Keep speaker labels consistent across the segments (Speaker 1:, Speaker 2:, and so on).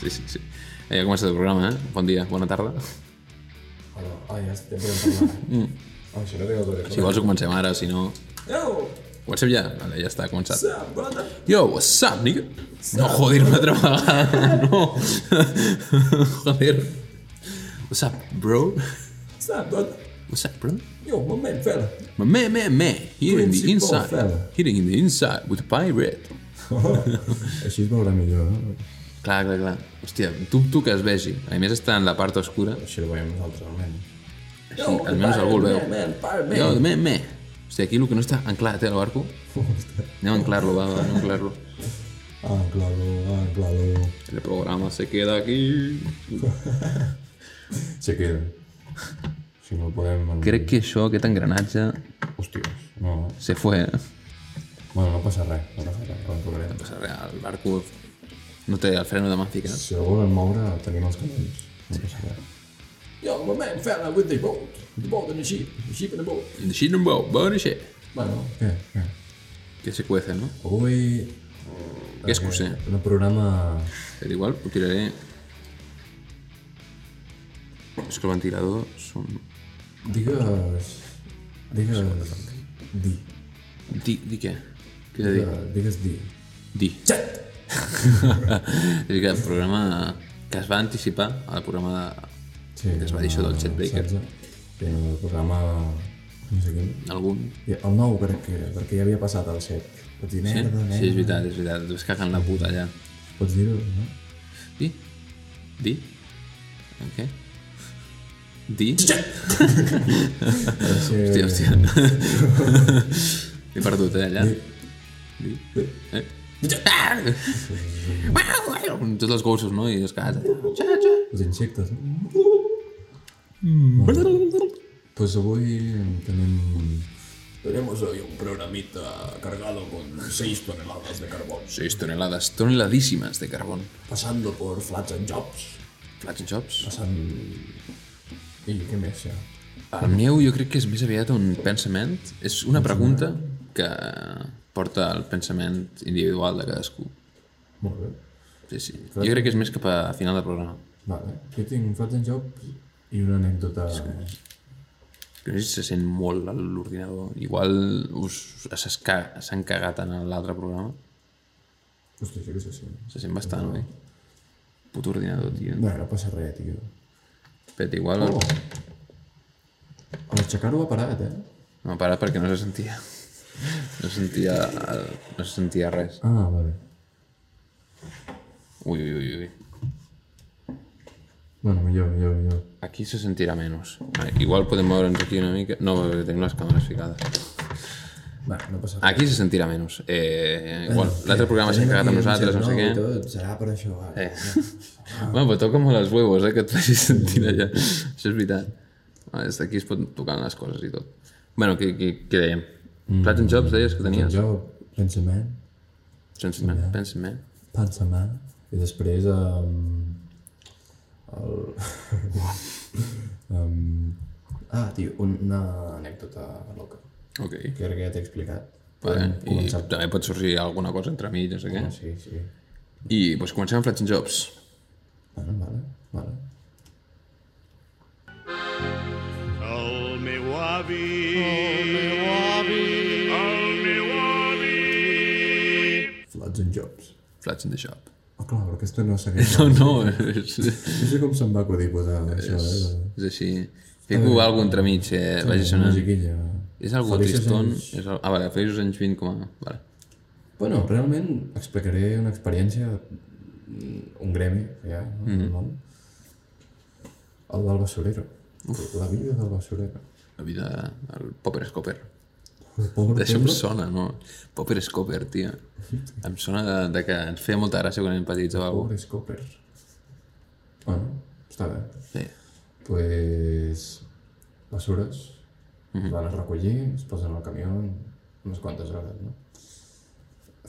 Speaker 1: Sí, sí, sí. Eh, ha començat el programa, eh? Bon dia, bona tarda.
Speaker 2: Ah, no. Ah, ja estem podem parlar. Mm. Ah, això no té gaire
Speaker 1: Si vols ho comencem ara, si no...
Speaker 2: Yo!
Speaker 1: WhatsApp ja? Vale, ja està, ha començat.
Speaker 2: Sam, brother!
Speaker 1: Yo, what's up, nigga? No, joder, una otra vegada, no. joder. What's up, bro?
Speaker 2: Sam, brother!
Speaker 1: What's up, bro?
Speaker 2: Yo, my man, fella!
Speaker 1: My man, man, man, here in the
Speaker 2: Principal
Speaker 1: inside.
Speaker 2: fella.
Speaker 1: Hitting in the inside with the pirate.
Speaker 2: Així es veurà millor, no?
Speaker 1: Clar, clar, clar. Hòstia, dubto que es vegi. A més està en la part oscura.
Speaker 2: Així ho veiem nosaltres, almenys.
Speaker 1: Sí, almenys algú el veu. Yo, me, me. Hòstia, aquí el que no està anclat, eh, el barco. Anem a anclar-lo, va, va, anem a anclar-lo.
Speaker 2: Ah, claro, ah, claro.
Speaker 1: El programa se queda aquí.
Speaker 2: Se queda. Si no el podem...
Speaker 1: Crec que això, aquest engranatge,
Speaker 2: Hòstia, no.
Speaker 1: se fue, eh?
Speaker 2: Bueno, no passa res, no passa res, no provarem.
Speaker 1: passa res, el barco no té el freno de mà ficat.
Speaker 2: Si el volen moure, tenim els canons. No passa res. Yo, my man, fella, with the boat. The boat and the ship. The ship and the boat.
Speaker 1: Així no em veu, veu així.
Speaker 2: Bueno, què? Què?
Speaker 1: Que se cuece, no?
Speaker 2: Avui...
Speaker 1: Que és coser.
Speaker 2: Un programa...
Speaker 1: Però igual ho tiraré... És que el ventilador són...
Speaker 2: Digues... Digues... Di.
Speaker 1: Di, di què? Què he de dir?
Speaker 2: Digues di.
Speaker 1: Di. és que el programa que es va anticipar al programa de...
Speaker 2: Sí,
Speaker 1: Que es va dir això del Chet Baker.
Speaker 2: Que era el E programa... No sé quin.
Speaker 1: algun...
Speaker 2: I El E nou crec que era, perquè ja havia passat el 7. Pots dir,
Speaker 1: Eh?
Speaker 2: nena, nena.
Speaker 1: Sí, és veritat, és veritat. Es caguen la puta allà.
Speaker 2: Pots dir-ho, no?
Speaker 1: Di? Di? En què? Di? Eh.
Speaker 2: Va ser...
Speaker 1: Hòstia, hòstia. M'he perdut, eh, allà. Di. Eh? Ah! Amb tots els gossos, no? I els cats.
Speaker 2: Els insectes, no? Pues avui tenim... Tenemos hoy un uh, programita cargado con 6 toneladas de carbón.
Speaker 1: 6 tonelades, toneladíssimes de carbón.
Speaker 2: pasando por Flats and Jobs.
Speaker 1: Flats and chops.
Speaker 2: Passant... I què més, ja?
Speaker 1: El meu jo crec que és més aviat un pensament. És una pregunta que porta al pensament individual de cadascú.
Speaker 2: Molt bé.
Speaker 1: Sí, sí. Jo crec que és més cap a final de programa.
Speaker 2: Vale. Jo tinc Flats and Jobs i una anècdota...
Speaker 1: Que no sé si se sent molt a l'ordinador. Igual us s'esca- s'han cagat en l'altre programa.
Speaker 2: Hòstia, això que se sent.
Speaker 1: Se sent bastant, oi? Puto ordinador, tio.
Speaker 2: No, no passa res, tio.
Speaker 1: Espera, igual...
Speaker 2: Oh. A l'aixecar-ho ha parat, eh?
Speaker 1: No, para perquè no se sentia... No se sentia, no se sentia res.
Speaker 2: Ah, vale.
Speaker 1: Ui, ui, ui, ui.
Speaker 2: Bueno, millor, millor, millor.
Speaker 1: Aquí se sentirà menys. Vale, igual podem moure'ns aquí una mica... No, perquè tenim les càmeres ficades.
Speaker 2: Va, no passa res.
Speaker 1: Aquí se sentirà menys. Eh, bueno, l'altre programa s'ha cagat amb nosaltres, no sé què.
Speaker 2: Tot, serà per això, vale.
Speaker 1: Eh. Bueno, però toca molt els huevos, eh, que et facis sentir allà. Això és veritat. Ah, Des d'aquí es pot tocar les coses i tot. Bueno, què, què, què dèiem? Plats and Jobs deies que tenies?
Speaker 2: Jo, pensament,
Speaker 1: Sense men, pensa men.
Speaker 2: pensament, i després... Um, el... um, ah, tio, un- una anècdota loca.
Speaker 1: Ok.
Speaker 2: Que crec que ja t'he explicat.
Speaker 1: Vale. I també pot sorgir alguna cosa entre mig, no sé què.
Speaker 2: Sí, sí.
Speaker 1: I doncs comencem amb Flats and Jobs.
Speaker 2: Bueno, vale, vale.
Speaker 3: El meu avi. El meu avi. El meu avi.
Speaker 2: Flats and Jobs.
Speaker 1: Flats in the Shop.
Speaker 2: Oh, clar, però aquesta no segueix.
Speaker 1: No, no, és,
Speaker 2: No sé com se'm va acudir posar això, eh?
Speaker 1: és així. Fico alguna entre mig, eh, vagi
Speaker 2: La
Speaker 1: sonant.
Speaker 2: musiquilla.
Speaker 1: És algo
Speaker 2: Feliços
Speaker 1: tristón.
Speaker 2: anys.
Speaker 1: És, al- ah, vale, feliços anys 20 com a... Vale.
Speaker 2: Bueno, realment explicaré una experiència, mm, un gremi, ja, no?
Speaker 1: Mm-hmm.
Speaker 2: Mm -hmm. El del basurero. La vida del basurero.
Speaker 1: La vida, el Popper Scopper.
Speaker 2: El pobre
Speaker 1: Això em sona, no? Popper Scopper, tia. Em sona de, de que ens feia molta gràcia quan érem petits o alguna
Speaker 2: Pobre Scopper. Bueno, està bé.
Speaker 1: Sí.
Speaker 2: Pues... Basures. Mm -hmm. Van a recollir, es posen al camió unes quantes hores, no?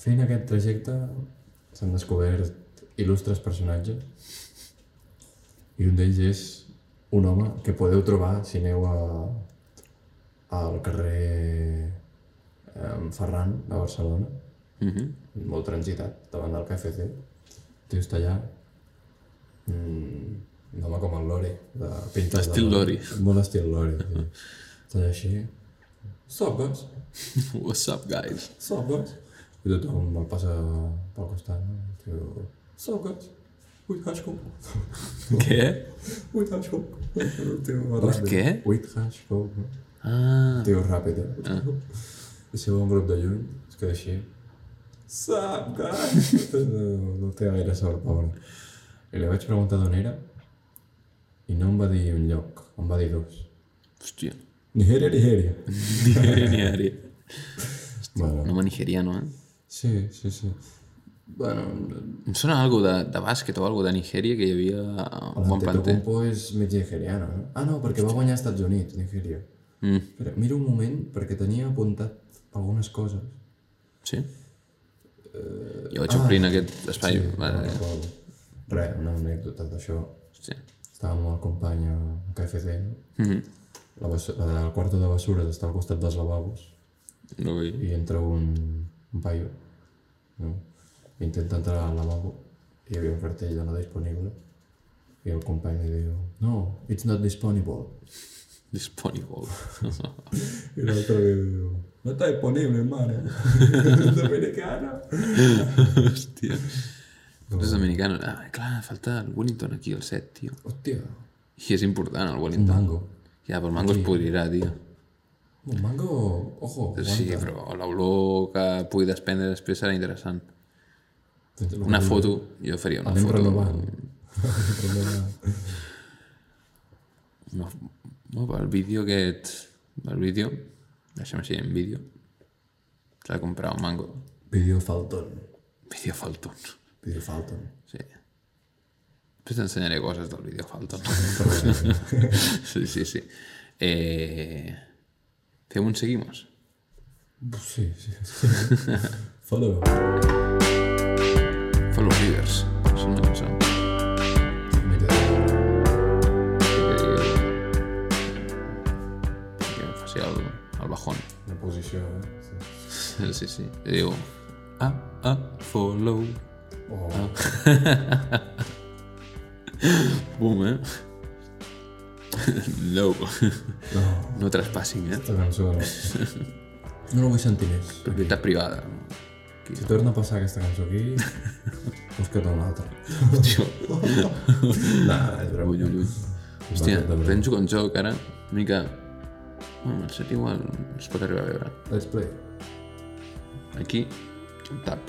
Speaker 2: Fent aquest trajecte s'han descobert il·lustres personatges i un d'ells és un home que podeu trobar si aneu a, al carrer em, Ferran de Barcelona
Speaker 1: Mhm.
Speaker 2: molt transitat davant del KFC. El tio està allà Mm, un home com el Lore, de pintes
Speaker 1: Estil
Speaker 2: de-
Speaker 1: Lori.
Speaker 2: Molt estil Lore, sí. Tot així. Sopes,
Speaker 1: What's up, guys?
Speaker 2: sopes. I tothom el passa pel costat, no? Diu, sopes, vuit Hitchcock,
Speaker 1: Què?
Speaker 2: vuit Hitchcock. El tio va
Speaker 1: Vuit
Speaker 2: ràpid.
Speaker 1: què?
Speaker 2: Vuit Hitchcock, no?
Speaker 1: Ah,
Speaker 2: Tio, ràpid, eh? I si un grup de lluny, es queda així. Sup, guys? No, no té gaire sort, pobre. I li vaig preguntar d'on era i no em va dir un lloc, em va dir dos.
Speaker 1: hòstia.
Speaker 2: Nigèria, Nigèria.
Speaker 1: Diari, diari. Un
Speaker 2: Bueno,
Speaker 1: home nigeriano, eh?
Speaker 2: sí, sí, sí. Bueno,
Speaker 1: Em sona algo de, de bàsquet o algo de Nigèria que hi havia a un bon planter.
Speaker 2: Antetokounmpo és mig nigeriano, no? Ah, no, perquè va guanyar als Estats Units, Nigèria.
Speaker 1: Mm.
Speaker 2: Espera, mira un moment, perquè tenia apuntat algunes coses.
Speaker 1: Sí? Jo vaig omplint aquest espai. Vale.
Speaker 2: Recordo. Res, una anècdota d'això.
Speaker 1: Hòstia.
Speaker 2: Estava amb el company a KFC, no?
Speaker 1: Mhm.
Speaker 2: La basu- la, el quarto de bessures està al costat dels lavabos
Speaker 1: No vull...
Speaker 2: i entra un, un paio, no? Intenta entrar al lavabo i hi havia un cartell de no disponible i el company li diu No, it's not disponible.
Speaker 1: Disponible.
Speaker 2: I l'altre li diu No està disponible, mare. Dominicana.
Speaker 1: Hòstia. Els dominicanos. Ah, clar, falta el Wellington aquí, el set, tio.
Speaker 2: Hòstia,
Speaker 1: I és important, el
Speaker 2: un
Speaker 1: Wellington.
Speaker 2: mango.
Speaker 1: Ja, però el pues mango es podrirà, tio.
Speaker 2: Un mango, ojo, aguanta.
Speaker 1: Sí, però l'olor que pugui desprendre després serà interessant.
Speaker 2: Tens-
Speaker 1: Una foto, jo faria una
Speaker 2: Anem
Speaker 1: foto.
Speaker 2: renovant. Renovant.
Speaker 1: No, no, pel vídeo aquest... El vídeo... Deixa'm així, en vídeo. S'ha de comprar un mango.
Speaker 2: Vídeo Falton.
Speaker 1: Vídeo Falton.
Speaker 2: Vídeo Falton.
Speaker 1: Sí. Pues Després t'ensenyaré coses del vídeo Falton. sí, sí, sí. Eh... Fem un seguimos.
Speaker 2: Sí, sí. sí. Follow.
Speaker 1: Follow Rivers. És una cosa...
Speaker 2: Mira,
Speaker 1: Que, Eh, que em faci el, el bajón.
Speaker 2: la posició, eh? Sí.
Speaker 1: Sí, sí. I diu... Ah, ah, follow.
Speaker 2: Oh,
Speaker 1: Boom, eh? No.
Speaker 2: no.
Speaker 1: No traspassin, eh?
Speaker 2: Esta cançó no. No la vull sentir més.
Speaker 1: Propietat privada.
Speaker 2: Si torna a passar aquesta cançó aquí, busca't una altra.
Speaker 1: Hòstia,
Speaker 2: Nah, és broma.
Speaker 1: ull, ull, ull. Hòstia,
Speaker 2: Va, de broma.
Speaker 1: penso com joc ara, una mica... Bueno, el set igual es pot arribar a veure.
Speaker 2: Let's play.
Speaker 1: Aquí, un tap.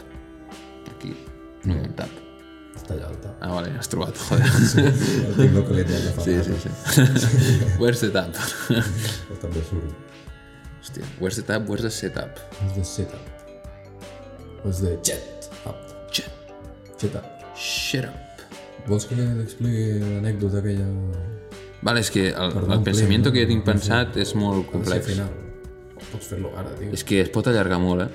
Speaker 1: Aquí, no, un tap.
Speaker 2: Està allà alta.
Speaker 1: Ah, vale, has trobat, joder.
Speaker 2: El tinc localitzat de fa
Speaker 1: Sí,
Speaker 2: sí,
Speaker 1: sí, sí. Where's the tap?
Speaker 2: sí. també surt.
Speaker 1: Hòstia, where's the tap, where's the setup?
Speaker 2: És de setup. És de jet up.
Speaker 1: Shit,
Speaker 2: Jet up.
Speaker 1: shut up.
Speaker 2: Vols que t'expliqui l'anècdota aquella...
Speaker 1: Vale, és que el,
Speaker 2: Perdó,
Speaker 1: el
Speaker 2: un
Speaker 1: pensament
Speaker 2: clip,
Speaker 1: que jo
Speaker 2: no?
Speaker 1: tinc pensat és molt
Speaker 2: Ha de ser
Speaker 1: complex.
Speaker 2: final. Pots fer-lo ara, tio.
Speaker 1: És que es pot allargar molt, eh?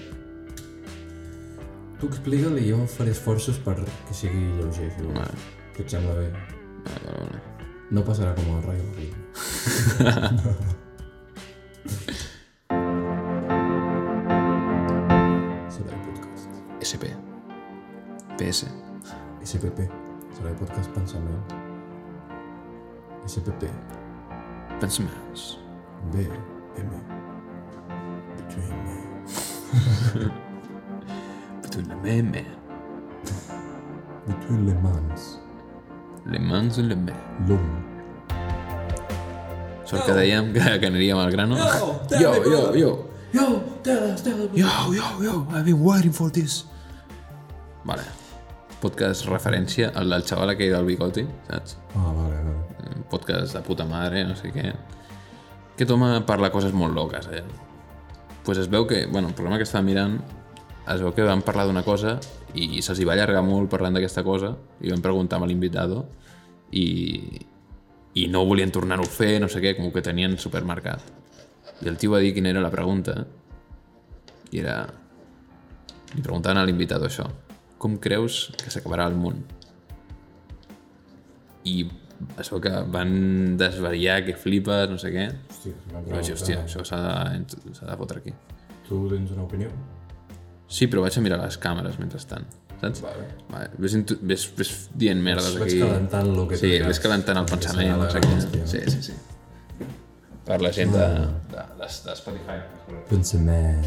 Speaker 2: Tu explica-li i jo faré esforços per que sigui lleuger. Si no.
Speaker 1: Vale.
Speaker 2: Que et sembla bé.
Speaker 1: Vale, vale, vale.
Speaker 2: No passarà com el Rayo Vallecano. Serà el podcast.
Speaker 1: SP. PS.
Speaker 2: SPP. Serà el podcast Pensament. SPP.
Speaker 1: Pensaments.
Speaker 2: B. M. Between me.
Speaker 1: Between le meme.
Speaker 2: Between les mans.
Speaker 1: Le mans i le me.
Speaker 2: L'om.
Speaker 1: Sort que dèiem que, que aniríem al grano. Yo,
Speaker 2: tell me,
Speaker 1: yo,
Speaker 2: brother.
Speaker 1: yo.
Speaker 2: Yo, tell us, tell us.
Speaker 1: Yo, yo, yo. I've been waiting for this. Vale. Podcast referència al del xaval aquell del bigoti, saps?
Speaker 2: Ah, vale, vale.
Speaker 1: Un podcast de puta madre, no sé què. Aquest home parla coses molt loques, eh? pues es veu que, bueno, el programa que estava mirant, es veu que van parlar d'una cosa i se'ls hi va allargar molt parlant d'aquesta cosa i van preguntar a l'invitado i, i no volien tornar-ho a fer, no sé què, com que tenien supermercat. I el tio va dir quina era la pregunta i era... Li preguntaven a l'invitado això. Com creus que s'acabarà el món? I es veu que van desvariar, que flipes, no sé què.
Speaker 2: Hòstia, és una
Speaker 1: Però vaig dir,
Speaker 2: pregunta.
Speaker 1: hòstia, això s'ha de, s'ha de fotre aquí.
Speaker 2: Tu tens una opinió?
Speaker 1: Sí, però vaig a mirar les càmeres mentrestant. saps?
Speaker 2: Vale.
Speaker 1: Vale. Ves, intu- ves, ves dient merdes
Speaker 2: Vaig
Speaker 1: aquí.
Speaker 2: calentant lo que
Speaker 1: Sí,
Speaker 2: tindràs.
Speaker 1: ves calentant el
Speaker 2: Perquè
Speaker 1: pensament.
Speaker 2: serà la
Speaker 1: no sé què.
Speaker 2: hòstia.
Speaker 1: Sí, sí, sí. Per la gent de, de, de, de Spotify.
Speaker 2: Prince Man.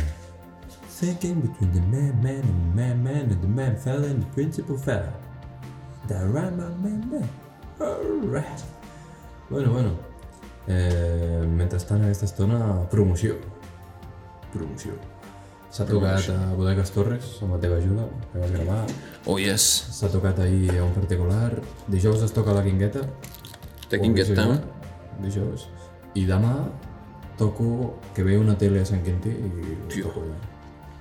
Speaker 2: Thinking between the man, man, and the man, man, and the man fell and the principal fell. The rama, man, man. Alright. Bueno, bueno. Eh, mentrestant, aquesta estona, promoció. Promoció. S'ha tocat a Bodegas Torres, amb la teva ajuda, que vas gravar.
Speaker 1: Oh, yes.
Speaker 2: S'ha tocat ahir a un particular. Dijous es toca a la Quingueta.
Speaker 1: Taking Get Down.
Speaker 2: Dijous. I demà toco que ve una tele a Sant Quintí i Tio. toco allà.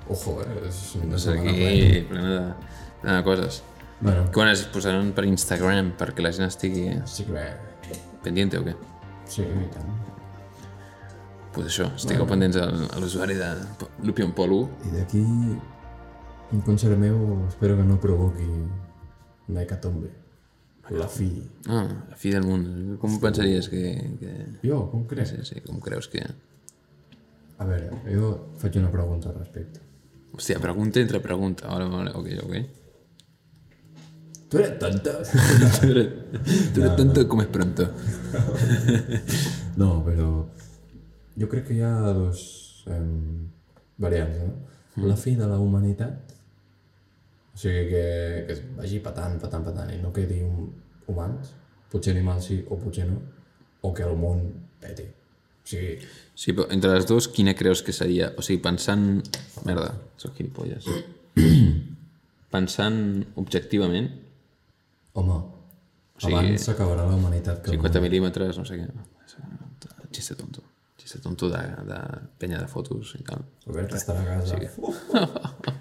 Speaker 2: Ojo, eh? És una
Speaker 1: Doncs
Speaker 2: setmana plena.
Speaker 1: aquí, plena de, plena de coses.
Speaker 2: Bueno,
Speaker 1: Quan es posaran per Instagram perquè la gent estigui eh,
Speaker 2: sí que...
Speaker 1: pendiente o què?
Speaker 2: Sí, i tant.
Speaker 1: pues això, estigueu pendents al- a l'usuari de Lupion Polo.
Speaker 2: I d'aquí, un concert meu, espero que no provoqui una hecatombe. La fi.
Speaker 1: Ah, la fi del món. Com pensaries que... que...
Speaker 2: Jo, com creus?
Speaker 1: Sí, sí, com creus que...
Speaker 2: A veure, jo faig una pregunta al respecte.
Speaker 1: Hòstia, pregunta entre pregunta. Vale, vale, ok, ok.
Speaker 2: Tu eres tonta?
Speaker 1: Tu eres- tu eres tonto com es pronto.
Speaker 2: No, però jo crec que hi ha dos eh, variants, no? Mm. La fi de la humanitat, o sigui que, que es vagi patant, patant, patant, i no quedi hum, humans, potser animals sí o potser no, o que el món peti. O sigui,
Speaker 1: Sí, però entre les dues, quina creus que seria? O sigui, pensant... Merda, sóc gilipolles. pensant objectivament,
Speaker 2: home,
Speaker 1: sigui-
Speaker 2: abans s'acabarà la humanitat que el
Speaker 1: 50 mil·límetres, no sé què... Xiste tonto. Xiste tonto de, de penya de fotos i tal.
Speaker 2: món. Albert estarà a casa.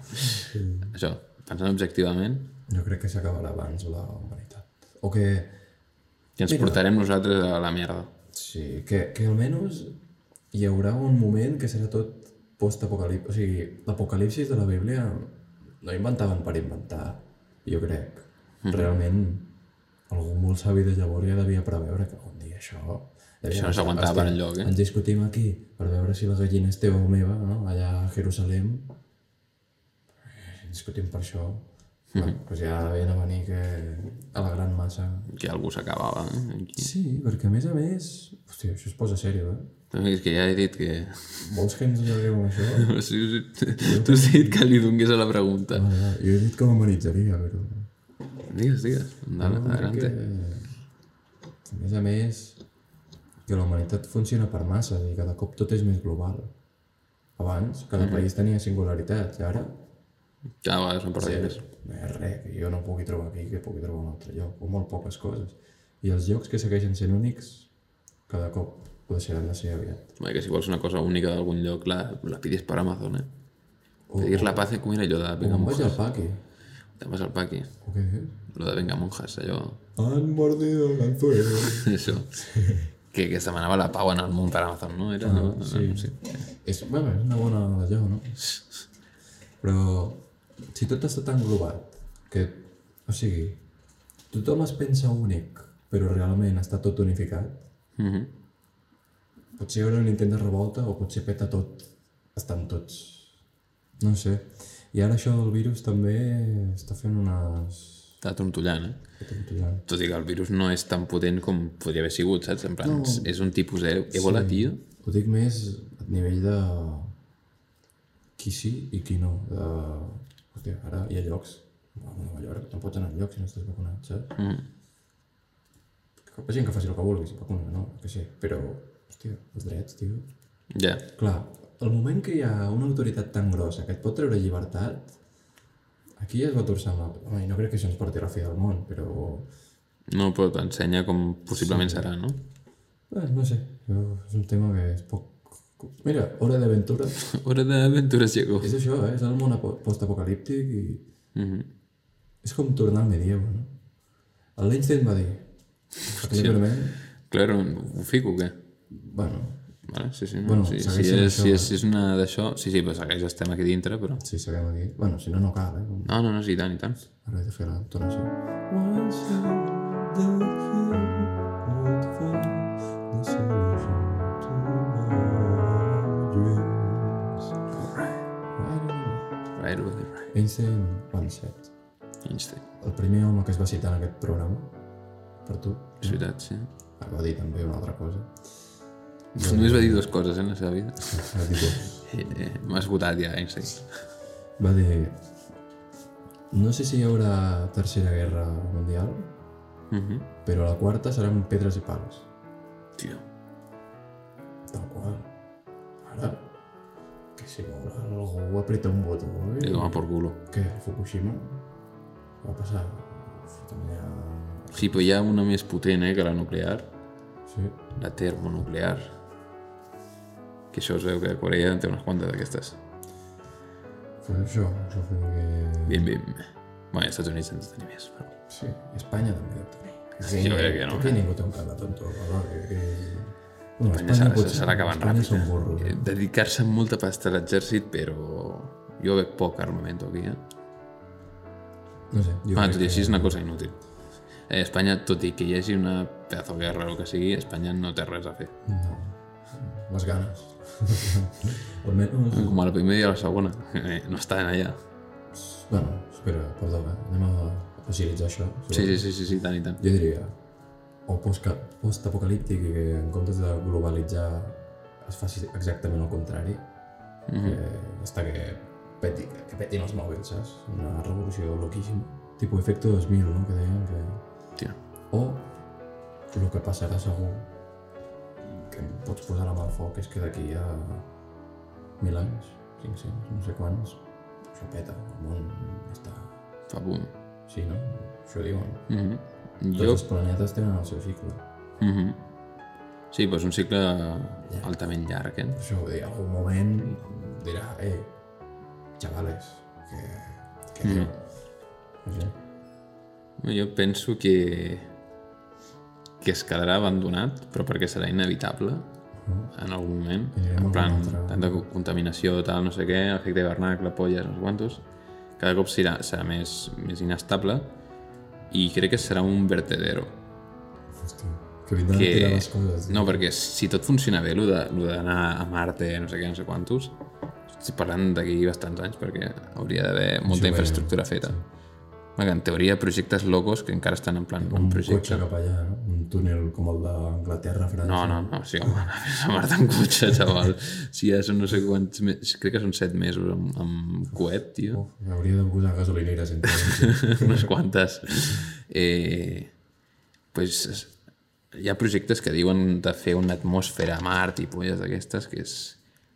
Speaker 2: Sí.
Speaker 1: Això, pensant objectivament,
Speaker 2: Jo crec que s'acabarà abans la humanitat. O que,
Speaker 1: que ens portarem nosaltres a la merda.
Speaker 2: sí, que, que almenys hi haurà un moment que serà tot post-apocalipsi. O sigui, l'apocalipsis de la Bíblia no inventaven per inventar, jo crec.
Speaker 1: Mm-hmm.
Speaker 2: Realment, algú molt savi de llavors ja devia preveure que algun dia això...
Speaker 1: Això no s'aguantava per enlloc, eh?
Speaker 2: Ens discutim aquí per veure si la gallina és teva o meva, no? allà a Jerusalem. Eh, Discutim per això.
Speaker 1: Mm-hmm.
Speaker 2: Bueno, doncs ja veien a venir que a la gran massa
Speaker 1: Que algú s'acabava. Eh? Aquí.
Speaker 2: Sí, perquè a més a més... Hòstia, això es posa sèrio, eh?
Speaker 1: També és que ja he dit que...
Speaker 2: Vols que ens allarguem amb això?
Speaker 1: O sigui, tu has dit que li donés a la pregunta.
Speaker 2: Ah, ja, jo he dit que m'amenitzaria, però...
Speaker 1: Digues, digues.
Speaker 2: Ah,
Speaker 1: Endavant, adelante.
Speaker 2: A més a més, que la humanitat funciona per masses i cada cop tot és més global. Abans, cada país tenia singularitats, i ara...
Speaker 1: Cada vegada Ah, són per
Speaker 2: Res,
Speaker 1: res.
Speaker 2: no hi ha res que jo no pugui trobar aquí, que pugui trobar a un altre lloc, o molt poques coses. I els llocs que segueixen sent únics, cada cop ho deixaran de ser aviat.
Speaker 1: Home, que si vols una cosa única d'algun lloc, la, la pidis per Amazon, eh? Pedir la paz, com era allò de Venga
Speaker 2: Com vaig
Speaker 1: Monjas?
Speaker 2: al paqui?
Speaker 1: Te'n vas al paqui.
Speaker 2: O què dius?
Speaker 1: Lo de Venga Monjas, allò...
Speaker 2: Han mordido el anzuelo.
Speaker 1: Això. Que, que es demanava la pau en el món per Amazon, no? Era, no,
Speaker 2: sí. És, bueno, és una bona d'allò, no? Però si tot està tan globat que, o sigui, tothom es pensa únic, però realment està tot unificat,
Speaker 1: Mhm.
Speaker 2: potser hi haurà un intent de revolta o potser peta tot, estan tots. No ho sé. I ara això del virus també està fent unes...
Speaker 1: Està trontollant, eh?
Speaker 2: patentejant.
Speaker 1: Tot i que el virus no és tan potent com podria haver sigut, saps? En plan, no. és un tipus de Ebola, sí. tio.
Speaker 2: Ho dic més a nivell de qui sí i qui no. De... Hòstia, ara hi ha llocs, a Nova York, no pots anar enlloc si no estàs vacunat, saps? Mm. Que la gent que faci el que vulgui, si vacuna, no, que sé, però, hòstia, els drets, tio.
Speaker 1: Ja.
Speaker 2: Clar, el moment que hi ha una autoritat tan grossa que et pot treure llibertat, aquí es va torçar amb la... Home, i no crec que això ens porti a la fi del món, però...
Speaker 1: No, però t'ensenya com possiblement sí. serà, no?
Speaker 2: Eh, no sé, jo, és un tema que és poc... Mira, Hora d'Aventura
Speaker 1: Hora d'aventures, Jacob.
Speaker 2: És això, eh? És el món apo- postapocalíptic i...
Speaker 1: Mm-hmm.
Speaker 2: És com tornar al medievo, no? El Einstein va dir... Cleverman...
Speaker 1: Claro, ho fico o què?
Speaker 2: Bueno,
Speaker 1: Vale? Sí, sí, no.
Speaker 2: Bueno,
Speaker 1: sí, si, és,
Speaker 2: segueix sent això, eh?
Speaker 1: si, és, si és una d'això... Sí, sí, però segueix, estem aquí dintre, però...
Speaker 2: si sabem aquí... Bueno, si no, no cal, eh?
Speaker 1: No, no, no, sí, i tant, i tant.
Speaker 2: Ara he de fer la entonació. Once the hill would find the solution to my dreams. Right.
Speaker 1: Right over the right.
Speaker 2: Einstein, one set.
Speaker 1: Einstein.
Speaker 2: El primer home que es va citar en aquest programa, per tu,
Speaker 1: És veritat, sí.
Speaker 2: ah, va dir també una altra cosa.
Speaker 1: Només va dir dues coses eh, en la seva vida.
Speaker 2: Va dir, que-
Speaker 1: Eh, eh, M'ha esgotat ja, Einstein.
Speaker 2: va dir... No sé si hi haurà tercera guerra mundial,
Speaker 1: Mhm.
Speaker 2: però la quarta serà amb pedres i pals.
Speaker 1: Tio.
Speaker 2: Tal qual. Ara, que si vol, algú apreta un botó, oi?
Speaker 1: Li dona por culo.
Speaker 2: Què, Fukushima? Va passar? Fotem allà...
Speaker 1: Sí, però hi ha una més potent eh, que la nuclear,
Speaker 2: Sí.
Speaker 1: la termonuclear. Que això es veu que Corea en té unes quantes d'aquestes.
Speaker 2: Pues això, això fem que...
Speaker 1: Bim, bim. Bé, als Estats Units ens tenir més, però...
Speaker 2: Sí, i Espanya també deu tenir.
Speaker 1: Sí, jo crec que no. eh?
Speaker 2: Aquí ningú té un cap de tonto, però que... que... Eh, Bueno,
Speaker 1: Espanya serà,
Speaker 2: potser-
Speaker 1: serà acabant
Speaker 2: Espanya
Speaker 1: ràpid.
Speaker 2: són
Speaker 1: eh?
Speaker 2: burros.
Speaker 1: Eh,
Speaker 2: Eh?
Speaker 1: Dedicar-se molta pasta a l'exèrcit, però jo veig poc armament aquí, eh?
Speaker 2: No sé, jo
Speaker 1: Ah,
Speaker 2: crec
Speaker 1: tot i així és una cosa inútil. Eh, Espanya, tot i que hi hagi una pedazo de guerra o el que sigui, Espanya no té res a fer.
Speaker 2: que... No. Les ganes. Almenys...
Speaker 1: Com a la primera i a la segona. Eh, no estan allà.
Speaker 2: Bueno, espera, perdó, eh? anem a facilitzar això.
Speaker 1: Sí, sí, sí, sí, sí tant i tant.
Speaker 2: Jo diria, o postca- post-apocalíptic i que en comptes de globalitzar es faci exactament el contrari. Mm
Speaker 1: Mhm.
Speaker 2: -hmm. que està que, peti, que petin els mòbils, saps? Una revolució loquíssima. Tipus efecte 2000, no? Que deien que...
Speaker 1: Tio.
Speaker 2: O el que passarà segur, que em pots posar la mà al foc, és que d'aquí a mil anys, 500, no sé quants, això peta, el món està...
Speaker 1: Fa pum.
Speaker 2: Sí, no? Això diuen.
Speaker 1: Mhm.
Speaker 2: Tots
Speaker 1: Jo...
Speaker 2: els planetes tenen el seu cicle.
Speaker 1: Mhm. Sí, però és un cicle altament llarg, eh?
Speaker 2: Això vull dir, en algun moment dirà, eh, xavales, que... que mm. No sé.
Speaker 1: Jo penso que que es quedarà abandonat, però perquè serà inevitable en algun moment.
Speaker 2: Anirem
Speaker 1: En plan,
Speaker 2: a algun altre-
Speaker 1: tanta co- contaminació, tal, no sé què, efecte hivernacle, polles, no sé quantos. Cada cop serà, serà més, més inestable i crec que serà un vertedero.
Speaker 2: Hòstia, que vindran que... a tirar
Speaker 1: Que...
Speaker 2: les coses.
Speaker 1: No, perquè si tot funciona bé, lo de- lo d'anar a Marte, no sé què, no sé quantos, estic parlant d'aquí bastants anys perquè hauria d'haver molta
Speaker 2: veiem,
Speaker 1: infraestructura feta. Perquè En teoria, projectes locos que encara estan en plan un
Speaker 2: un
Speaker 1: projecte.
Speaker 2: cotxe cap allà, no? un túnel com el d'Anglaterra, França.
Speaker 1: No, no, no, sí, home, anaves a Marta en cotxe, xaval. Si ja són no sé quants mesos, crec que són set mesos amb, amb coet, tio.
Speaker 2: Uf, hauria de posar gasolineres entre ells.
Speaker 1: Unes quantes. Eh, pues, es- hi ha projectes que diuen de fer una atmosfera a Mart i polles d'aquestes, que és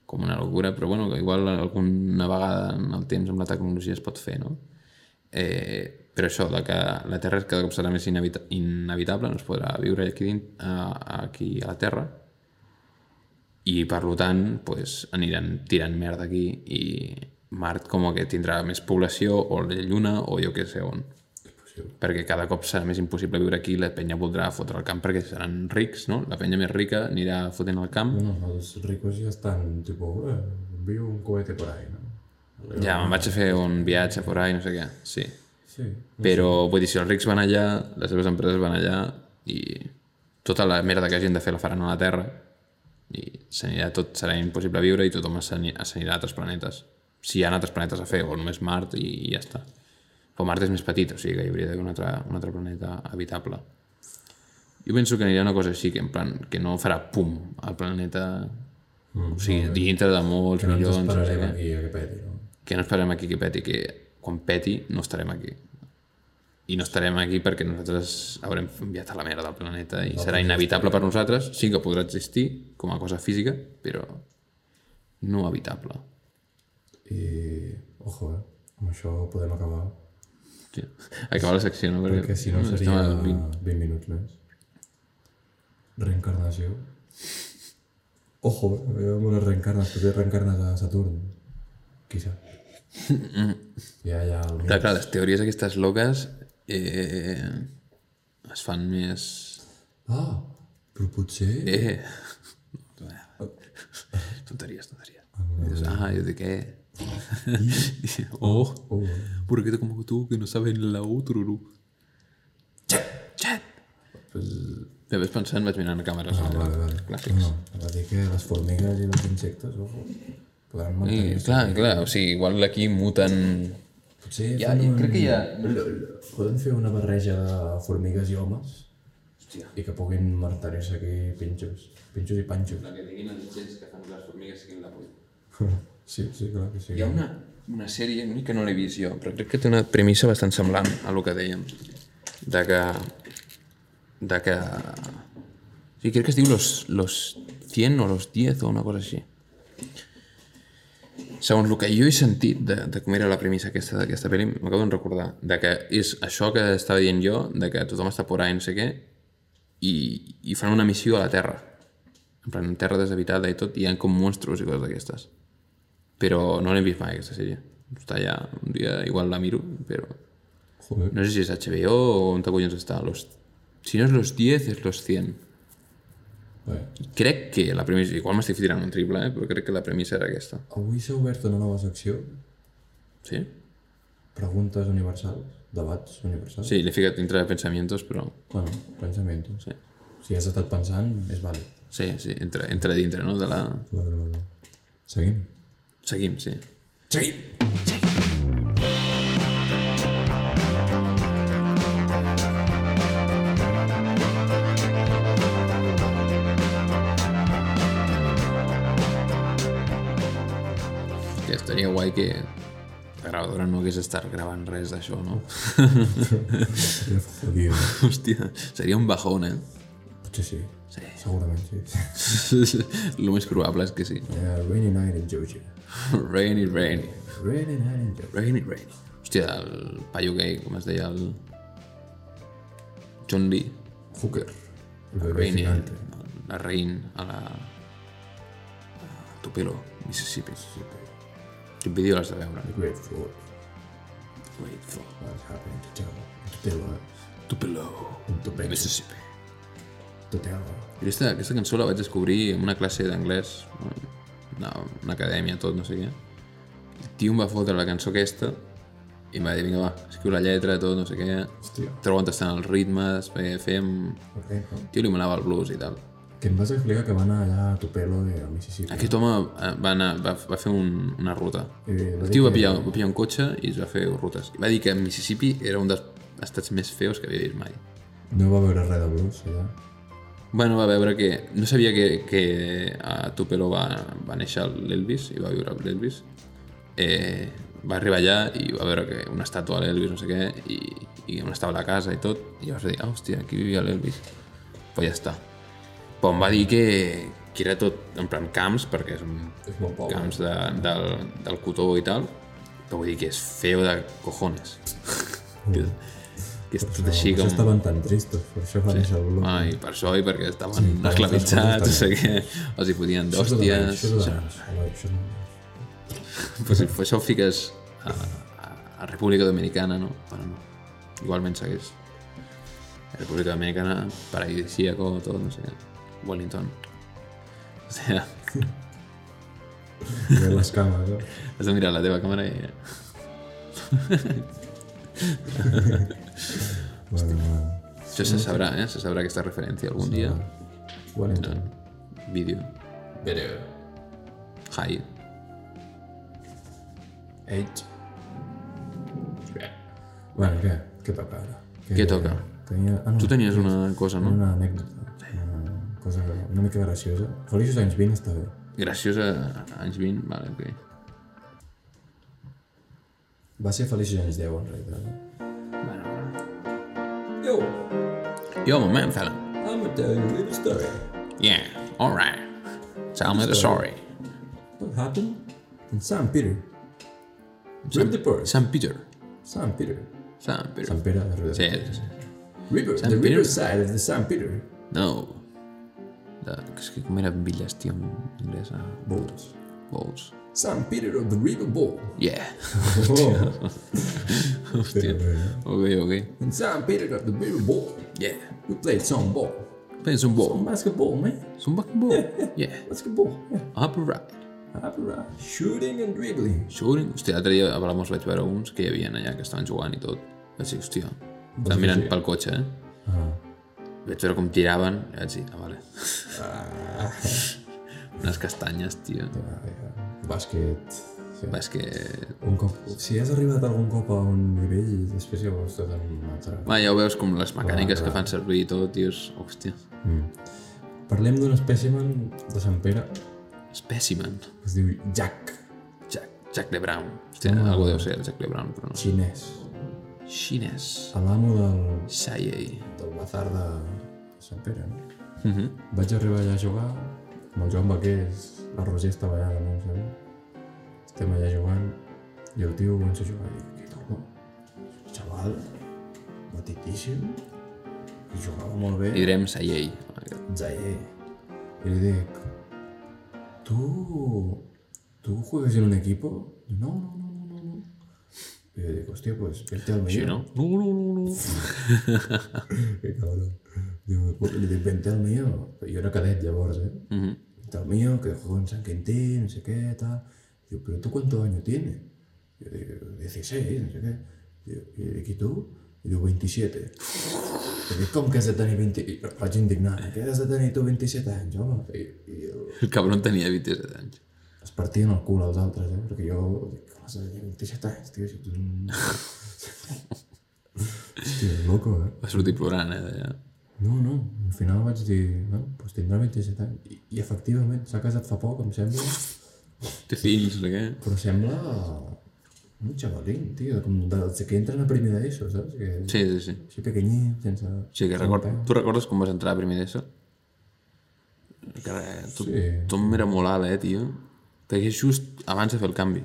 Speaker 1: com una locura, però bueno, que igual alguna vegada en el temps amb la tecnologia es pot fer, no? Eh, però això, de que la Terra cada cop serà més inevita inevitable, no es podrà viure aquí, dins, a, aquí a la Terra, i per lo tant pues, aniran tirant merda aquí i Mart com que tindrà més població o la Lluna o jo que sé on perquè cada cop serà més impossible viure aquí la penya voldrà fotre el camp perquè seran rics, no? La penya més rica anirà fotent el camp
Speaker 2: no, no, els ricos ja estan, tipus, eh, envio un cohete por ahí, no?
Speaker 1: ja, me'n vaig a fer un viatge por ahí, no sé què sí,
Speaker 2: Sí.
Speaker 1: però vull dir, si els rics van allà les seves empreses van allà i tota la merda que hagin de fer la faran a la Terra i s'anirà tot, serà impossible viure i tothom s'ani- s'anirà a altres planetes si hi ha altres planetes a fer, o només Mart i, i ja està però Mart és més petit, o sigui que hi hauria d'haver un, altre, un altre planeta habitable jo penso que anirà una cosa així que en plan, que no farà pum el planeta o sigui, dintre de molts
Speaker 2: Que no ens
Speaker 1: milions no sé
Speaker 2: esperarem
Speaker 1: què
Speaker 2: aquí a que peti, no?
Speaker 1: que no esperem aquí que peti, que quan peti no estarem aquí. I no estarem aquí perquè nosaltres haurem enviat a la merda del planeta i serà inevitable per nosaltres. Sí que podrà existir com a cosa física, però no habitable.
Speaker 2: I, ojo, eh? Amb això podem acabar,
Speaker 1: Sí. Acabar la secció, no? Perquè,
Speaker 2: perquè si no
Speaker 1: estem
Speaker 2: seria
Speaker 1: al 20.
Speaker 2: 20 minuts més. Reencarnació. Ojo, eh? Jo amb unes reencarnes, potser reencarnes a Saturn. Qui sap? Ja, ja... El...
Speaker 1: Clar, clar, les teories aquestes loques eh, es fan més...
Speaker 2: Ah, però potser...
Speaker 1: Eh. Tonteries, tonteries. I dius, ah, jo de què? oh.
Speaker 2: Oh,
Speaker 1: Porque tú como tú que no sabes la otra, no? Xat! Xat!
Speaker 2: pues...
Speaker 1: Ja ves pensant, vaig mirant a càmeres.
Speaker 2: Ah, vale, vale.
Speaker 1: Clàssics.
Speaker 2: No, no, va dir que les formigues i els insectes, ojo, podran
Speaker 1: I,
Speaker 2: mantenir...
Speaker 1: clar, clar, o sigui, igual aquí muten
Speaker 2: Potser
Speaker 1: Ja,
Speaker 2: fent
Speaker 1: i crec que hi ha-
Speaker 2: Podem fer una barreja de formigues i homes
Speaker 1: Hòstia.
Speaker 2: i que puguin martirar-se aquí pinxos. Pinxos i panxos.
Speaker 1: que tinguin els gens que fan les formigues siguin la política.
Speaker 2: sí, sí, clar que sí.
Speaker 1: Hi ha una, una sèrie, l'únic que no l'he vist jo, però crec que té una premissa bastant semblant a lo que dèiem. De que... De que... Sí, crec que es diu los, los 100 o los 10 o una cosa així. Segons el que jo he sentit de, de com era la premissa aquesta d'aquesta pel·li, m'acabo de recordar, de que és això que estava dient jo, de que tothom està por ahí, no sé què, i, i fan una missió a la Terra. En plan, Terra deshabitada i tot, i hi ha com monstruos i coses d'aquestes però no l'he vist mai aquesta sèrie està allà, un dia igual la miro però
Speaker 2: Joder.
Speaker 1: no sé si és HBO o on te collons està los... si no és los 10 és los 100
Speaker 2: Bé,
Speaker 1: crec que la premissa, igual m'estic tirant un triple eh? però crec que la premissa era aquesta
Speaker 2: avui s'ha obert una nova secció.
Speaker 1: sí?
Speaker 2: Preguntes universals. Debats universals.
Speaker 1: sí, l'he ficat dintre de pensamientos però
Speaker 2: Bueno, pensamiento.
Speaker 1: sí,
Speaker 2: Si has estat pensant, és vàlid.
Speaker 1: sí, sí entre, entre dintre no? de la...
Speaker 2: Clar, clar, clar. Seguim.
Speaker 1: seguim, sí
Speaker 2: Seguim!
Speaker 1: que estaria guai que la gravadora no hagués estat gravant res d'això no?
Speaker 2: Jodido.
Speaker 1: hòstia, seria un bajón eh?
Speaker 2: Potser sí.
Speaker 1: Sí.
Speaker 2: Segurament sí.
Speaker 1: el més probable és que sí
Speaker 2: Yeah, rainy night in Georgia.
Speaker 1: rainy, rainy
Speaker 2: Rainy night in Georgia.
Speaker 1: Rainy, rainy. Hòstia, el paio gay, com es deia el... John Lee.
Speaker 2: Hooker. El bebé
Speaker 1: Rainy,
Speaker 2: gigante.
Speaker 1: la Rain, a la... A Tupelo, Mississippi. Quin vídeo l'has de veure?
Speaker 2: The Great Flood.
Speaker 1: Wait for
Speaker 2: What's happening to Tell? To Tell.
Speaker 1: Tupelo,
Speaker 2: To Tell.
Speaker 1: Mississippi.
Speaker 2: To Tell.
Speaker 1: I aquesta, aquesta cançó la vaig descobrir en una classe d'anglès, una, una acadèmia, tot, no sé què. El tio em va fotre la cançó aquesta i em va dir, vinga, va, escriu la lletra, tot, no sé què.
Speaker 2: Hòstia.
Speaker 1: Troba on estan els ritmes, perquè fem...
Speaker 2: Ok.
Speaker 1: El tio li manava el blues i tal.
Speaker 2: Que em vas explicar que va anar allà a Tupelo de a Mississippi.
Speaker 1: Aquest home eh, va, anar, va, va fer un, una ruta.
Speaker 2: I va
Speaker 1: El
Speaker 2: dir
Speaker 1: tio va
Speaker 2: que-
Speaker 1: pillar, va pillar un cotxe i es va fer rutes. I va dir que Mississippi era un dels estats més feos que havia vist mai.
Speaker 2: No va veure res de blues allà.
Speaker 1: Bueno, va veure que... No sabia que, que a Tupelo va, va néixer l'Elvis i va viure amb l'Elvis. Eh, va arribar allà i va veure que una estàtua de l'Elvis, no sé què, i, i on estava la casa i tot. I llavors va dir, ah, hòstia, aquí vivia l'Elvis. Pues ja està. Però em va dir que, que era tot en plan camps, perquè és un
Speaker 2: És molt pobre.
Speaker 1: camps de, del, del cotó i tal, però vull dir que és feo de cojones. que, que és tot així com...
Speaker 2: per Mm. això estaven tan tristos, per això va néixer el blues.
Speaker 1: Ah, i per això, i perquè estaven
Speaker 2: Sí,
Speaker 1: sí,
Speaker 2: per
Speaker 1: esclavitzats,
Speaker 2: altres
Speaker 1: no
Speaker 2: coses
Speaker 1: sé què, els hi podien
Speaker 2: Això és el de
Speaker 1: d'hòsties...
Speaker 2: menys, Això és el de menys. Home, això és el de menys.
Speaker 1: Pues, si això ho fiques a, a, a República Dominicana, no? Bueno, no. Igualment segueix. A República Dominicana, paradisíaco, tot, no sé què. Wellington. O sigui,
Speaker 2: Ve les cames, eh?
Speaker 1: has de mirar la teva càmera i... eh,
Speaker 2: Bueno, bueno.
Speaker 1: Això se sabrà, eh? Se sabrà aquesta referència algun dia.
Speaker 2: Wellington.
Speaker 1: Vídeo.
Speaker 2: Video.
Speaker 1: Hi.
Speaker 2: Age. Bueno, què? Què toca ara?
Speaker 1: Què toca?
Speaker 2: Tenia... Ah, no,
Speaker 1: Tu tenies una cosa,
Speaker 2: tenia
Speaker 1: no?
Speaker 2: una anècdota. Una cosa una mica graciosa. Feliços anys 20 està bé.
Speaker 1: Graciosa, anys 20, vale, ok.
Speaker 2: Va ser feliços anys 10, en realitat.
Speaker 1: Bueno.
Speaker 2: Yo,
Speaker 1: Yo, my man, fella.
Speaker 2: I'm a tell you a little story.
Speaker 1: Yeah, alright. Tell me the story.
Speaker 2: What happened in San Peter? Rip the purse.
Speaker 1: San Peter.
Speaker 2: San Peter.
Speaker 1: San Peter.
Speaker 2: San Pere de Rodes.
Speaker 1: Sí, sí, sí.
Speaker 2: River,
Speaker 1: San
Speaker 2: the
Speaker 1: Peter.
Speaker 2: river side of the San Peter.
Speaker 1: No. De, és que com eren villes, tio, en ah. anglès, a
Speaker 2: Bulls.
Speaker 1: Bowls.
Speaker 2: San Peter of the River Bowl.
Speaker 1: Yeah.
Speaker 2: Oh.
Speaker 1: Hòstia. Ok, ok.
Speaker 2: In San Peter of the River Bowl,
Speaker 1: Yeah.
Speaker 2: we played some ball.
Speaker 1: Pensa un bol.
Speaker 2: Some basketball, man.
Speaker 1: És un basketball. Yeah.
Speaker 2: Basketball, yeah.
Speaker 1: Up right.
Speaker 2: Up around. Shooting and dribbling.
Speaker 1: Shooting. Hòstia, l'altre dia a Palamós vaig veure uns que hi havia allà, que estaven jugant i tot. Vaig dir, hòstia, estan mirant pel cotxe, eh?
Speaker 2: Ah.
Speaker 1: Vaig veure com tiraven i vaig dir, ah, vale. Unes castanyes, Ah. tio. eh.
Speaker 2: Ah, yeah. Bàsquet, Sí.
Speaker 1: Va, és que...
Speaker 2: Un cop... Si has arribat algun cop a un nivell i després ja vols tot en un altre.
Speaker 1: Va, ja ho veus com les mecàniques
Speaker 2: Clar,
Speaker 1: que
Speaker 2: clar.
Speaker 1: fan servir i tot, dius, hòstia,
Speaker 2: Mm. Parlem d'un espècimen de Sant Pere que
Speaker 1: Specimen,
Speaker 2: es diu Jack,
Speaker 1: Jack, Jack de Brown. Hòstia, algú deu ser el Jack de Brown, però no.
Speaker 2: xinès.
Speaker 1: Xinès,
Speaker 2: L'amo del,
Speaker 1: Sayei.
Speaker 2: del bazar de Sant Pere, no? Vaig arribar allà a jugar amb el Joan Baquers, el Roger estava allà també, em sembla. Estem allà jugant i el tio comença a jugar i dic, què tal, no? Xaval, batiquíssim, i jugava molt bé.
Speaker 1: Li direm Sayei.
Speaker 2: Zaire. Y le digo, ¿tú, ¿tú juegas en un equipo? Y, No, no, no, no, no, no. Y le digo, hostia, pues vete al Almería.
Speaker 1: Sí, no? No, no, no, no.
Speaker 2: Qué cabrón. Digo, pues, le digo, vente al mío. Yo era cadet, ya vos, ¿eh?
Speaker 1: Mhm.
Speaker 2: Vente al mío, que juego en San Quintín, no sé qué, tal. Digo, ¿pero tú cuántos años tienes? Yo digo, 16, no sé qué. Digo, y le digo, ¿y tú? Y digo, 27. Y digo, ¿cómo que has de tener 20? Y lo vaig indignar. ¿Qué has de tener tú 27 años, home? I, i el-
Speaker 1: El cabron tenia 27 anys.
Speaker 2: es partien el cul als altres, eh? Perquè jo... Dic, com has de tenir 27 anys, tio, si tu... Hòstia, loco, eh?
Speaker 1: Va sortir plorant, eh, d'allà.
Speaker 2: No, no, al final vaig dir, no, doncs tindrà 27 anys. I, i efectivament, s'ha casat fa poc, em sembla,
Speaker 1: Té fills, no sé què.
Speaker 2: però sembla un xavalín, tio, com dels que entren a primer d'ESO, saps? Que,
Speaker 1: Sí, sí, sí.
Speaker 2: Així pequenyit, sense...
Speaker 1: O sigui, que record... tu recordes com vas entrar a primer d'ESO? Que res, tot, sí.
Speaker 2: Sí.
Speaker 1: tot m'era molt alt, eh, tio. Perquè és just abans de fer el canvi.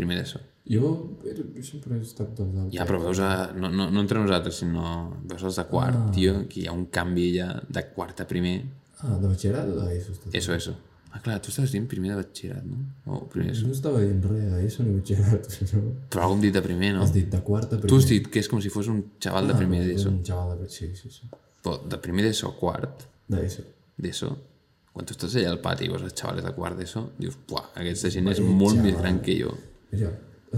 Speaker 1: Primer d'ESO.
Speaker 2: Jo, era- jo sempre he estat doncs, dels altres.
Speaker 1: Ja, però veus, a, no, no, no entre nosaltres, sinó veus els de quart, ah. tio, que hi ha un canvi ja de quart a primer.
Speaker 2: Ah, de batxillerat o d'ESO? estàs?
Speaker 1: Eso, eso. Ah, clar, tu estaves dient primer de batxillerat, no? O primer d'ESO.
Speaker 2: No estava dient res d'ESO ni batxillerat, però...
Speaker 1: Però algú hem dit de primer, no?
Speaker 2: Has dit de quarta, primer.
Speaker 1: Tu has dit que és com si fos un xaval de primer d'ESO.
Speaker 2: Un xaval de... Sí, sí, sí.
Speaker 1: Però de primer d'ESO a quart
Speaker 2: D'ESO.
Speaker 1: d'ESO, quan tu estàs allà al pati i veus els xavales de quart d'ESO, dius, buah, aquest de gent és molt més gran que jo.
Speaker 2: Mira,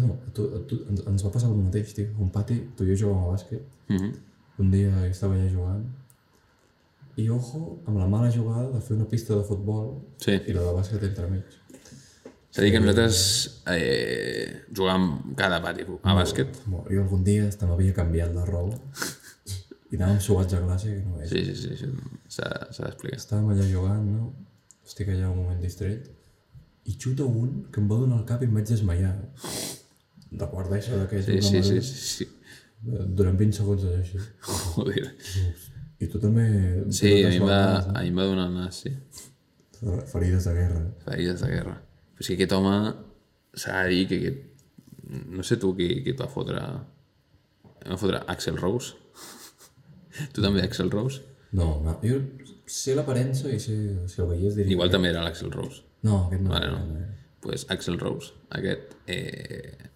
Speaker 2: no, a tu, a tu, ens, ens va passar el mateix, tio. A Un pati, tu i jo jugàvem a bàsquet. Mm
Speaker 1: Mhm.
Speaker 2: -hmm. Un dia jo estava allà jugant. I ojo amb la mala jugada de fer una pista de futbol
Speaker 1: Sí.
Speaker 2: i la de bàsquet entremig.
Speaker 1: És a dir, que nosaltres eh, jugàvem cada pati a bàsquet.
Speaker 2: Bueno, jo algun dia hasta m'havia canviat la roba i anàvem suats a classe que no veig.
Speaker 1: Sí, sí, sí, això s'ha s'ha d'explicar.
Speaker 2: Estàvem allà jugant, no? Estic allà un moment distret. I xuta un que em va donar el cap i em vaig desmaiar. De quart d'això d'aquell.
Speaker 1: Sí, sí, sí, sí, sí.
Speaker 2: Eh, Durant 20 segons és així.
Speaker 1: Joder.
Speaker 2: I tu també...
Speaker 1: Sí, a mi em va, a mi em va donar el nas, sí.
Speaker 2: Ferides de guerra.
Speaker 1: Ferides de guerra. Però és que aquest home s'ha de dir que aquest... No sé tu qui, qui et va fotre... Em va fotre Axel Rose? tu també, Axel Rose?
Speaker 2: No, no. Jo sé l'aparença i sé, si el veiés diria...
Speaker 1: Igual també era l'Axel Rose.
Speaker 2: No, aquest no.
Speaker 1: Vale, no.
Speaker 2: no.
Speaker 1: pues Axel Rose, aquest, eh,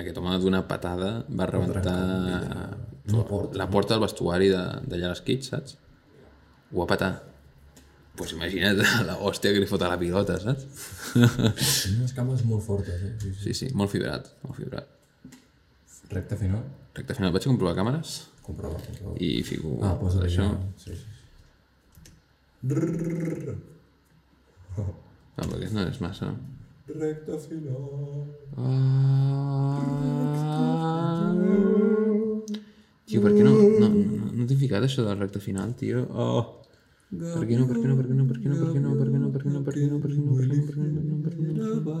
Speaker 1: aquest home d'una patada va rebentar
Speaker 2: Una porta.
Speaker 1: la porta del vestuari de, d'allà a les Kids, saps? Ho va patar. Pues imagina't la hòstia que li fot a la pilota, saps?
Speaker 2: Tenia unes cames molt fortes, eh? Sí, sí.
Speaker 1: Sí, sí, molt fibrat, molt fibrat.
Speaker 2: Recte final,
Speaker 1: Recte final, vaig a comprovar càmeres
Speaker 2: comprova. comprova.
Speaker 1: i fico
Speaker 2: Ah, posa
Speaker 1: això.
Speaker 2: això. Sí, sí.
Speaker 1: No, però aquest no és massa.
Speaker 2: Recte final.
Speaker 1: Ah... Tio, per què no, no, no, no t'he ficat això del recte final, tio? Oh. Per què no, per què no, per què no, per què no, per què no, per què no, per què no, per què no, per què no, per què no, per què no, per què no, per què no, per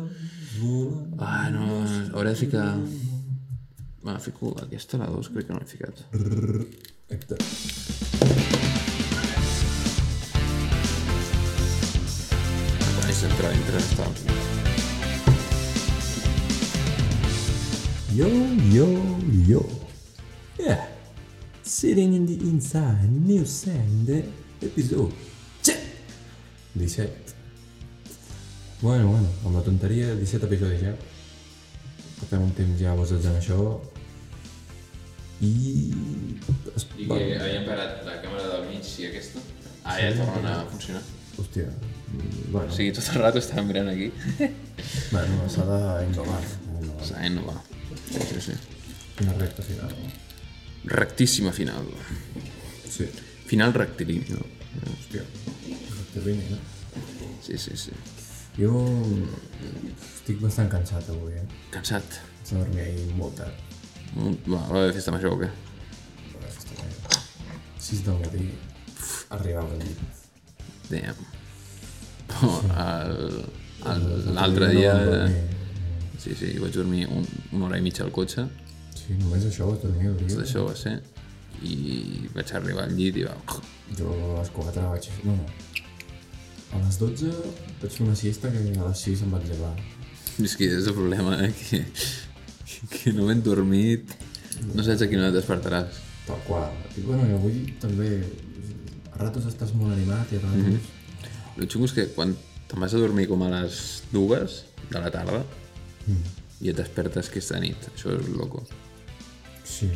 Speaker 1: què no, Ah, no, hauré de ficar... Va, fico aquesta, la 2, crec que no l'he ficat.
Speaker 2: Recte.
Speaker 1: Quan és entrar entre Estados Units.
Speaker 2: Yo, yo, yo. Yeah. Sitting in the inside, new sound, eh? episode. Check! 17. Bueno, bueno, amb la tonteria, 17 episodis ja. Portem un temps ja basats en això. I... Es... bueno,
Speaker 1: havien parat la càmera del mig i aquesta. Ah, ja tornen a funcionar.
Speaker 2: Hòstia, mm, bueno,
Speaker 1: O sigui, tot el rato estàvem mirant aquí.
Speaker 2: bueno s'ha d'innovar. innovar.
Speaker 1: Saben, no va. Sí, sí, sí.
Speaker 2: Una recta final. no?
Speaker 1: Rectíssima final.
Speaker 2: Sí.
Speaker 1: Final rectilíneo.
Speaker 2: Hòstia, recta línia.
Speaker 1: Sí, sí, sí.
Speaker 2: Jo estic bastant cansat avui, eh?
Speaker 1: Cansat.
Speaker 2: Vaig a dormir ahir molt tard.
Speaker 1: Mm, Va, va haver festa major o què?
Speaker 2: a la festa major. 6 del matí, arribava al llit.
Speaker 1: Damn. Però el- el- L'altre dia... eh,
Speaker 2: No vaig dormir.
Speaker 1: Sí, sí, vaig dormir un, una hora i mitja al cotxe.
Speaker 2: Sí, només això vaig dormir el dia.
Speaker 1: Això va ser. I vaig arribar al llit i va... "Oh,
Speaker 2: Jo a les 4 vaig... No, a les 12 vaig fer una siesta que a les 6 em vaig llevar.
Speaker 1: És que és el problema, eh? Que, que no ben dormit, no saps a quina hora et despertaràs.
Speaker 2: Tal qual. I bueno, i avui també... A ratos estàs molt animat i a ratos...
Speaker 1: Mhm. El xungo és que quan te'n vas a dormir com a les dues de la tarda
Speaker 2: Mm.
Speaker 1: i et despertes que és de nit, això és loco.
Speaker 2: Sí.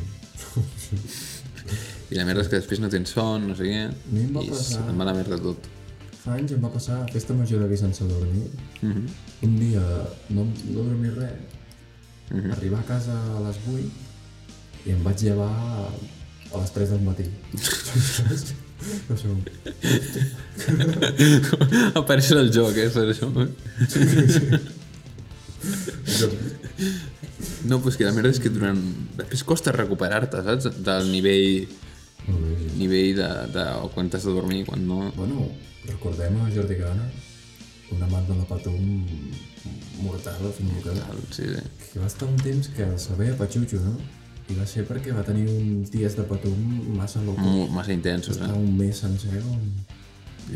Speaker 1: I la merda és que després no tens son, no sé què,
Speaker 2: mi em va
Speaker 1: i se
Speaker 2: passar-
Speaker 1: te'n va la merda tot.
Speaker 2: Fa anys em va passar a festa major d'aquí sense dormir. Un dia no, no dormir res, arribar a casa a les 8 i em vaig llevar a les 3 del matí. no sé com.
Speaker 1: Apareix el joc, eh, per això. No, però és que la merda és que durant... Després costa recuperar-te, saps? Del nivell,
Speaker 2: Molt bé, sí.
Speaker 1: nivell de, de quan t'has de dormir, quan no...
Speaker 2: Bueno, recordem a Jordi Grana, un amant de la Patum mortal, fins i tot,
Speaker 1: Sí, sí.
Speaker 2: que va estar un temps que se veia patxutxo, no? I va ser perquè va tenir uns dies de Patum massa loco.
Speaker 1: Molt, massa intensos, eh?
Speaker 2: Estava un mes sencer on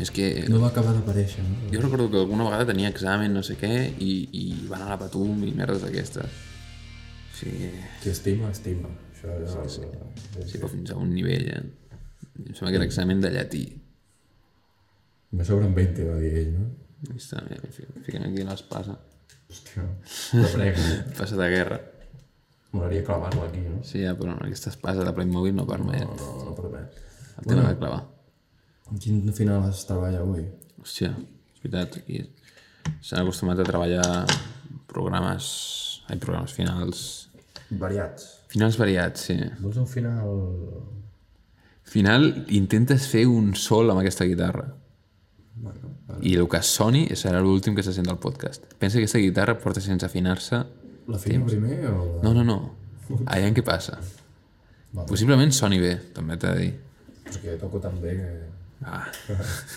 Speaker 1: És que
Speaker 2: no va acabar d'aparèixer, no?
Speaker 1: jo recordo que alguna vegada tenia examen, no sé què, i, i van a la patum i merdes d'aquestes. Sí,
Speaker 2: Qui estima, estima. Això ja... Sí,
Speaker 1: sí, però fins a un nivell, eh? Em sembla que era examen de llatí.
Speaker 2: Me sobren 20, va dir ell, no?
Speaker 1: I està, mira, fi- fiquem aquí l'espasa.
Speaker 2: Hòstia, de prego.
Speaker 1: Passa de guerra.
Speaker 2: M'agradaria clavar-la aquí, no?
Speaker 1: Sí, ja, però aquesta espasa de Playmobil no eh. permet.
Speaker 2: No, no, no permet.
Speaker 1: El té la va clavar.
Speaker 2: Quin final es treballa avui?
Speaker 1: Hòstia, és veritat, aquí s'han acostumat a treballar programes... Ai, programes finals...
Speaker 2: Variats.
Speaker 1: Finals variats, sí.
Speaker 2: Vols un final...
Speaker 1: Final, intentes fer un sol amb aquesta guitarra.
Speaker 2: Bueno,
Speaker 1: I el que soni serà l'últim que se sent del podcast. Pensa que aquesta guitarra porta sense afinar-se...
Speaker 2: la fina primer o... la-
Speaker 1: No, no, no. Allà en què passa.
Speaker 2: Vale.
Speaker 1: Possiblement soni bé, també t'he de dir.
Speaker 2: És que toco tan bé que...
Speaker 1: Ah,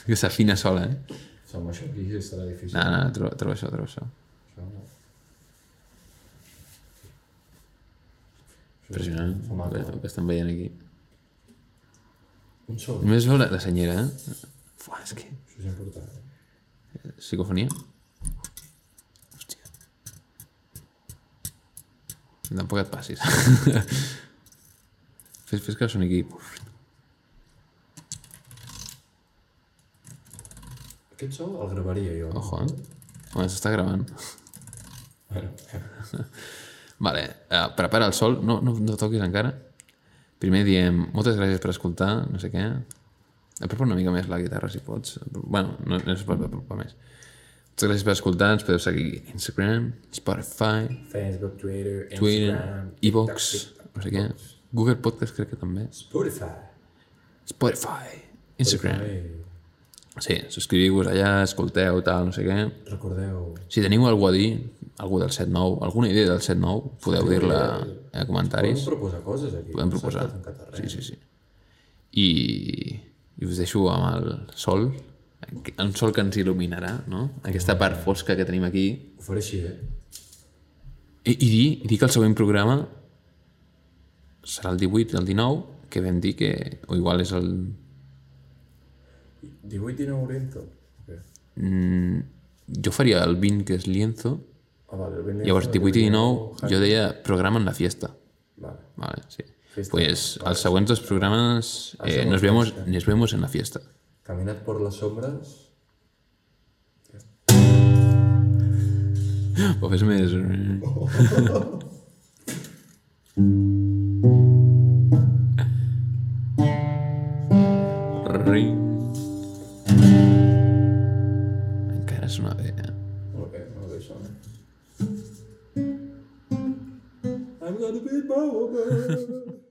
Speaker 1: que s'afina sola, eh?
Speaker 2: Som això aquí serà difícil.
Speaker 1: No, no, troba, troba això, troba això.
Speaker 2: Això no.
Speaker 1: Impressionant, el que- el que estem veient aquí.
Speaker 2: Un sol,
Speaker 1: Només veu la, la senyera, eh? Fuà, és que...
Speaker 2: això és important.
Speaker 1: Psicofonia. Hòstia. Tampoc et passis. fes, fes que soni aquí.
Speaker 2: Aquest sol el gravaria jo.
Speaker 1: Ojo, eh? Home, s'està gravant.
Speaker 2: Bueno,
Speaker 1: Vale, uh, prepara el sol. No, no, no toquis encara. Primer diem moltes gràcies per escoltar, no sé què. Apropa una mica més la guitarra, si pots. Bueno, no, no es pot apropar més. Moltes gràcies per escoltar. Ens podeu seguir a Instagram, Spotify,
Speaker 2: Facebook, Twitter,
Speaker 1: Twitter,
Speaker 2: Instagram,
Speaker 1: Evox,
Speaker 2: TikTok,
Speaker 1: no sé què. Google Podcast crec que també.
Speaker 2: Spotify.
Speaker 1: Spotify, Instagram.
Speaker 2: Ei,
Speaker 1: Sí, subscriviu-vos allà, escolteu, tal, no sé què.
Speaker 2: recordeu,
Speaker 1: Si teniu algú a dir, algú del 7-9, alguna idea del 7-9, podeu dir-la a
Speaker 2: podem
Speaker 1: comentaris.
Speaker 2: proposar coses aquí.
Speaker 1: Podem proposar. Sí, sí, sí. I, I us deixo amb el sol, un sol que ens il·luminarà, no? Aquesta part fosca que tenim aquí.
Speaker 2: Ho faré així, eh?
Speaker 1: I, i dir, i dir que el següent programa serà el 18, el 19, que vam dir que... O igual és el...
Speaker 2: 18 i 19 oriento. Okay.
Speaker 1: Jo faria el 20, que és lienzo,
Speaker 2: Ah, vale, el 20
Speaker 1: Llavors, 18 i 19, jo deia programa en la fiesta.
Speaker 2: Vale.
Speaker 1: Vale, sí.
Speaker 2: Fiesta.
Speaker 1: Pues els següents dos programes eh, nos, vemos, nos vemos en la fiesta.
Speaker 2: Caminad por las sombras.
Speaker 1: O fes més... Ring. Encara sona bé, eh?
Speaker 2: Molt bé, molt bé, això. eh? I'm gonna be my woman.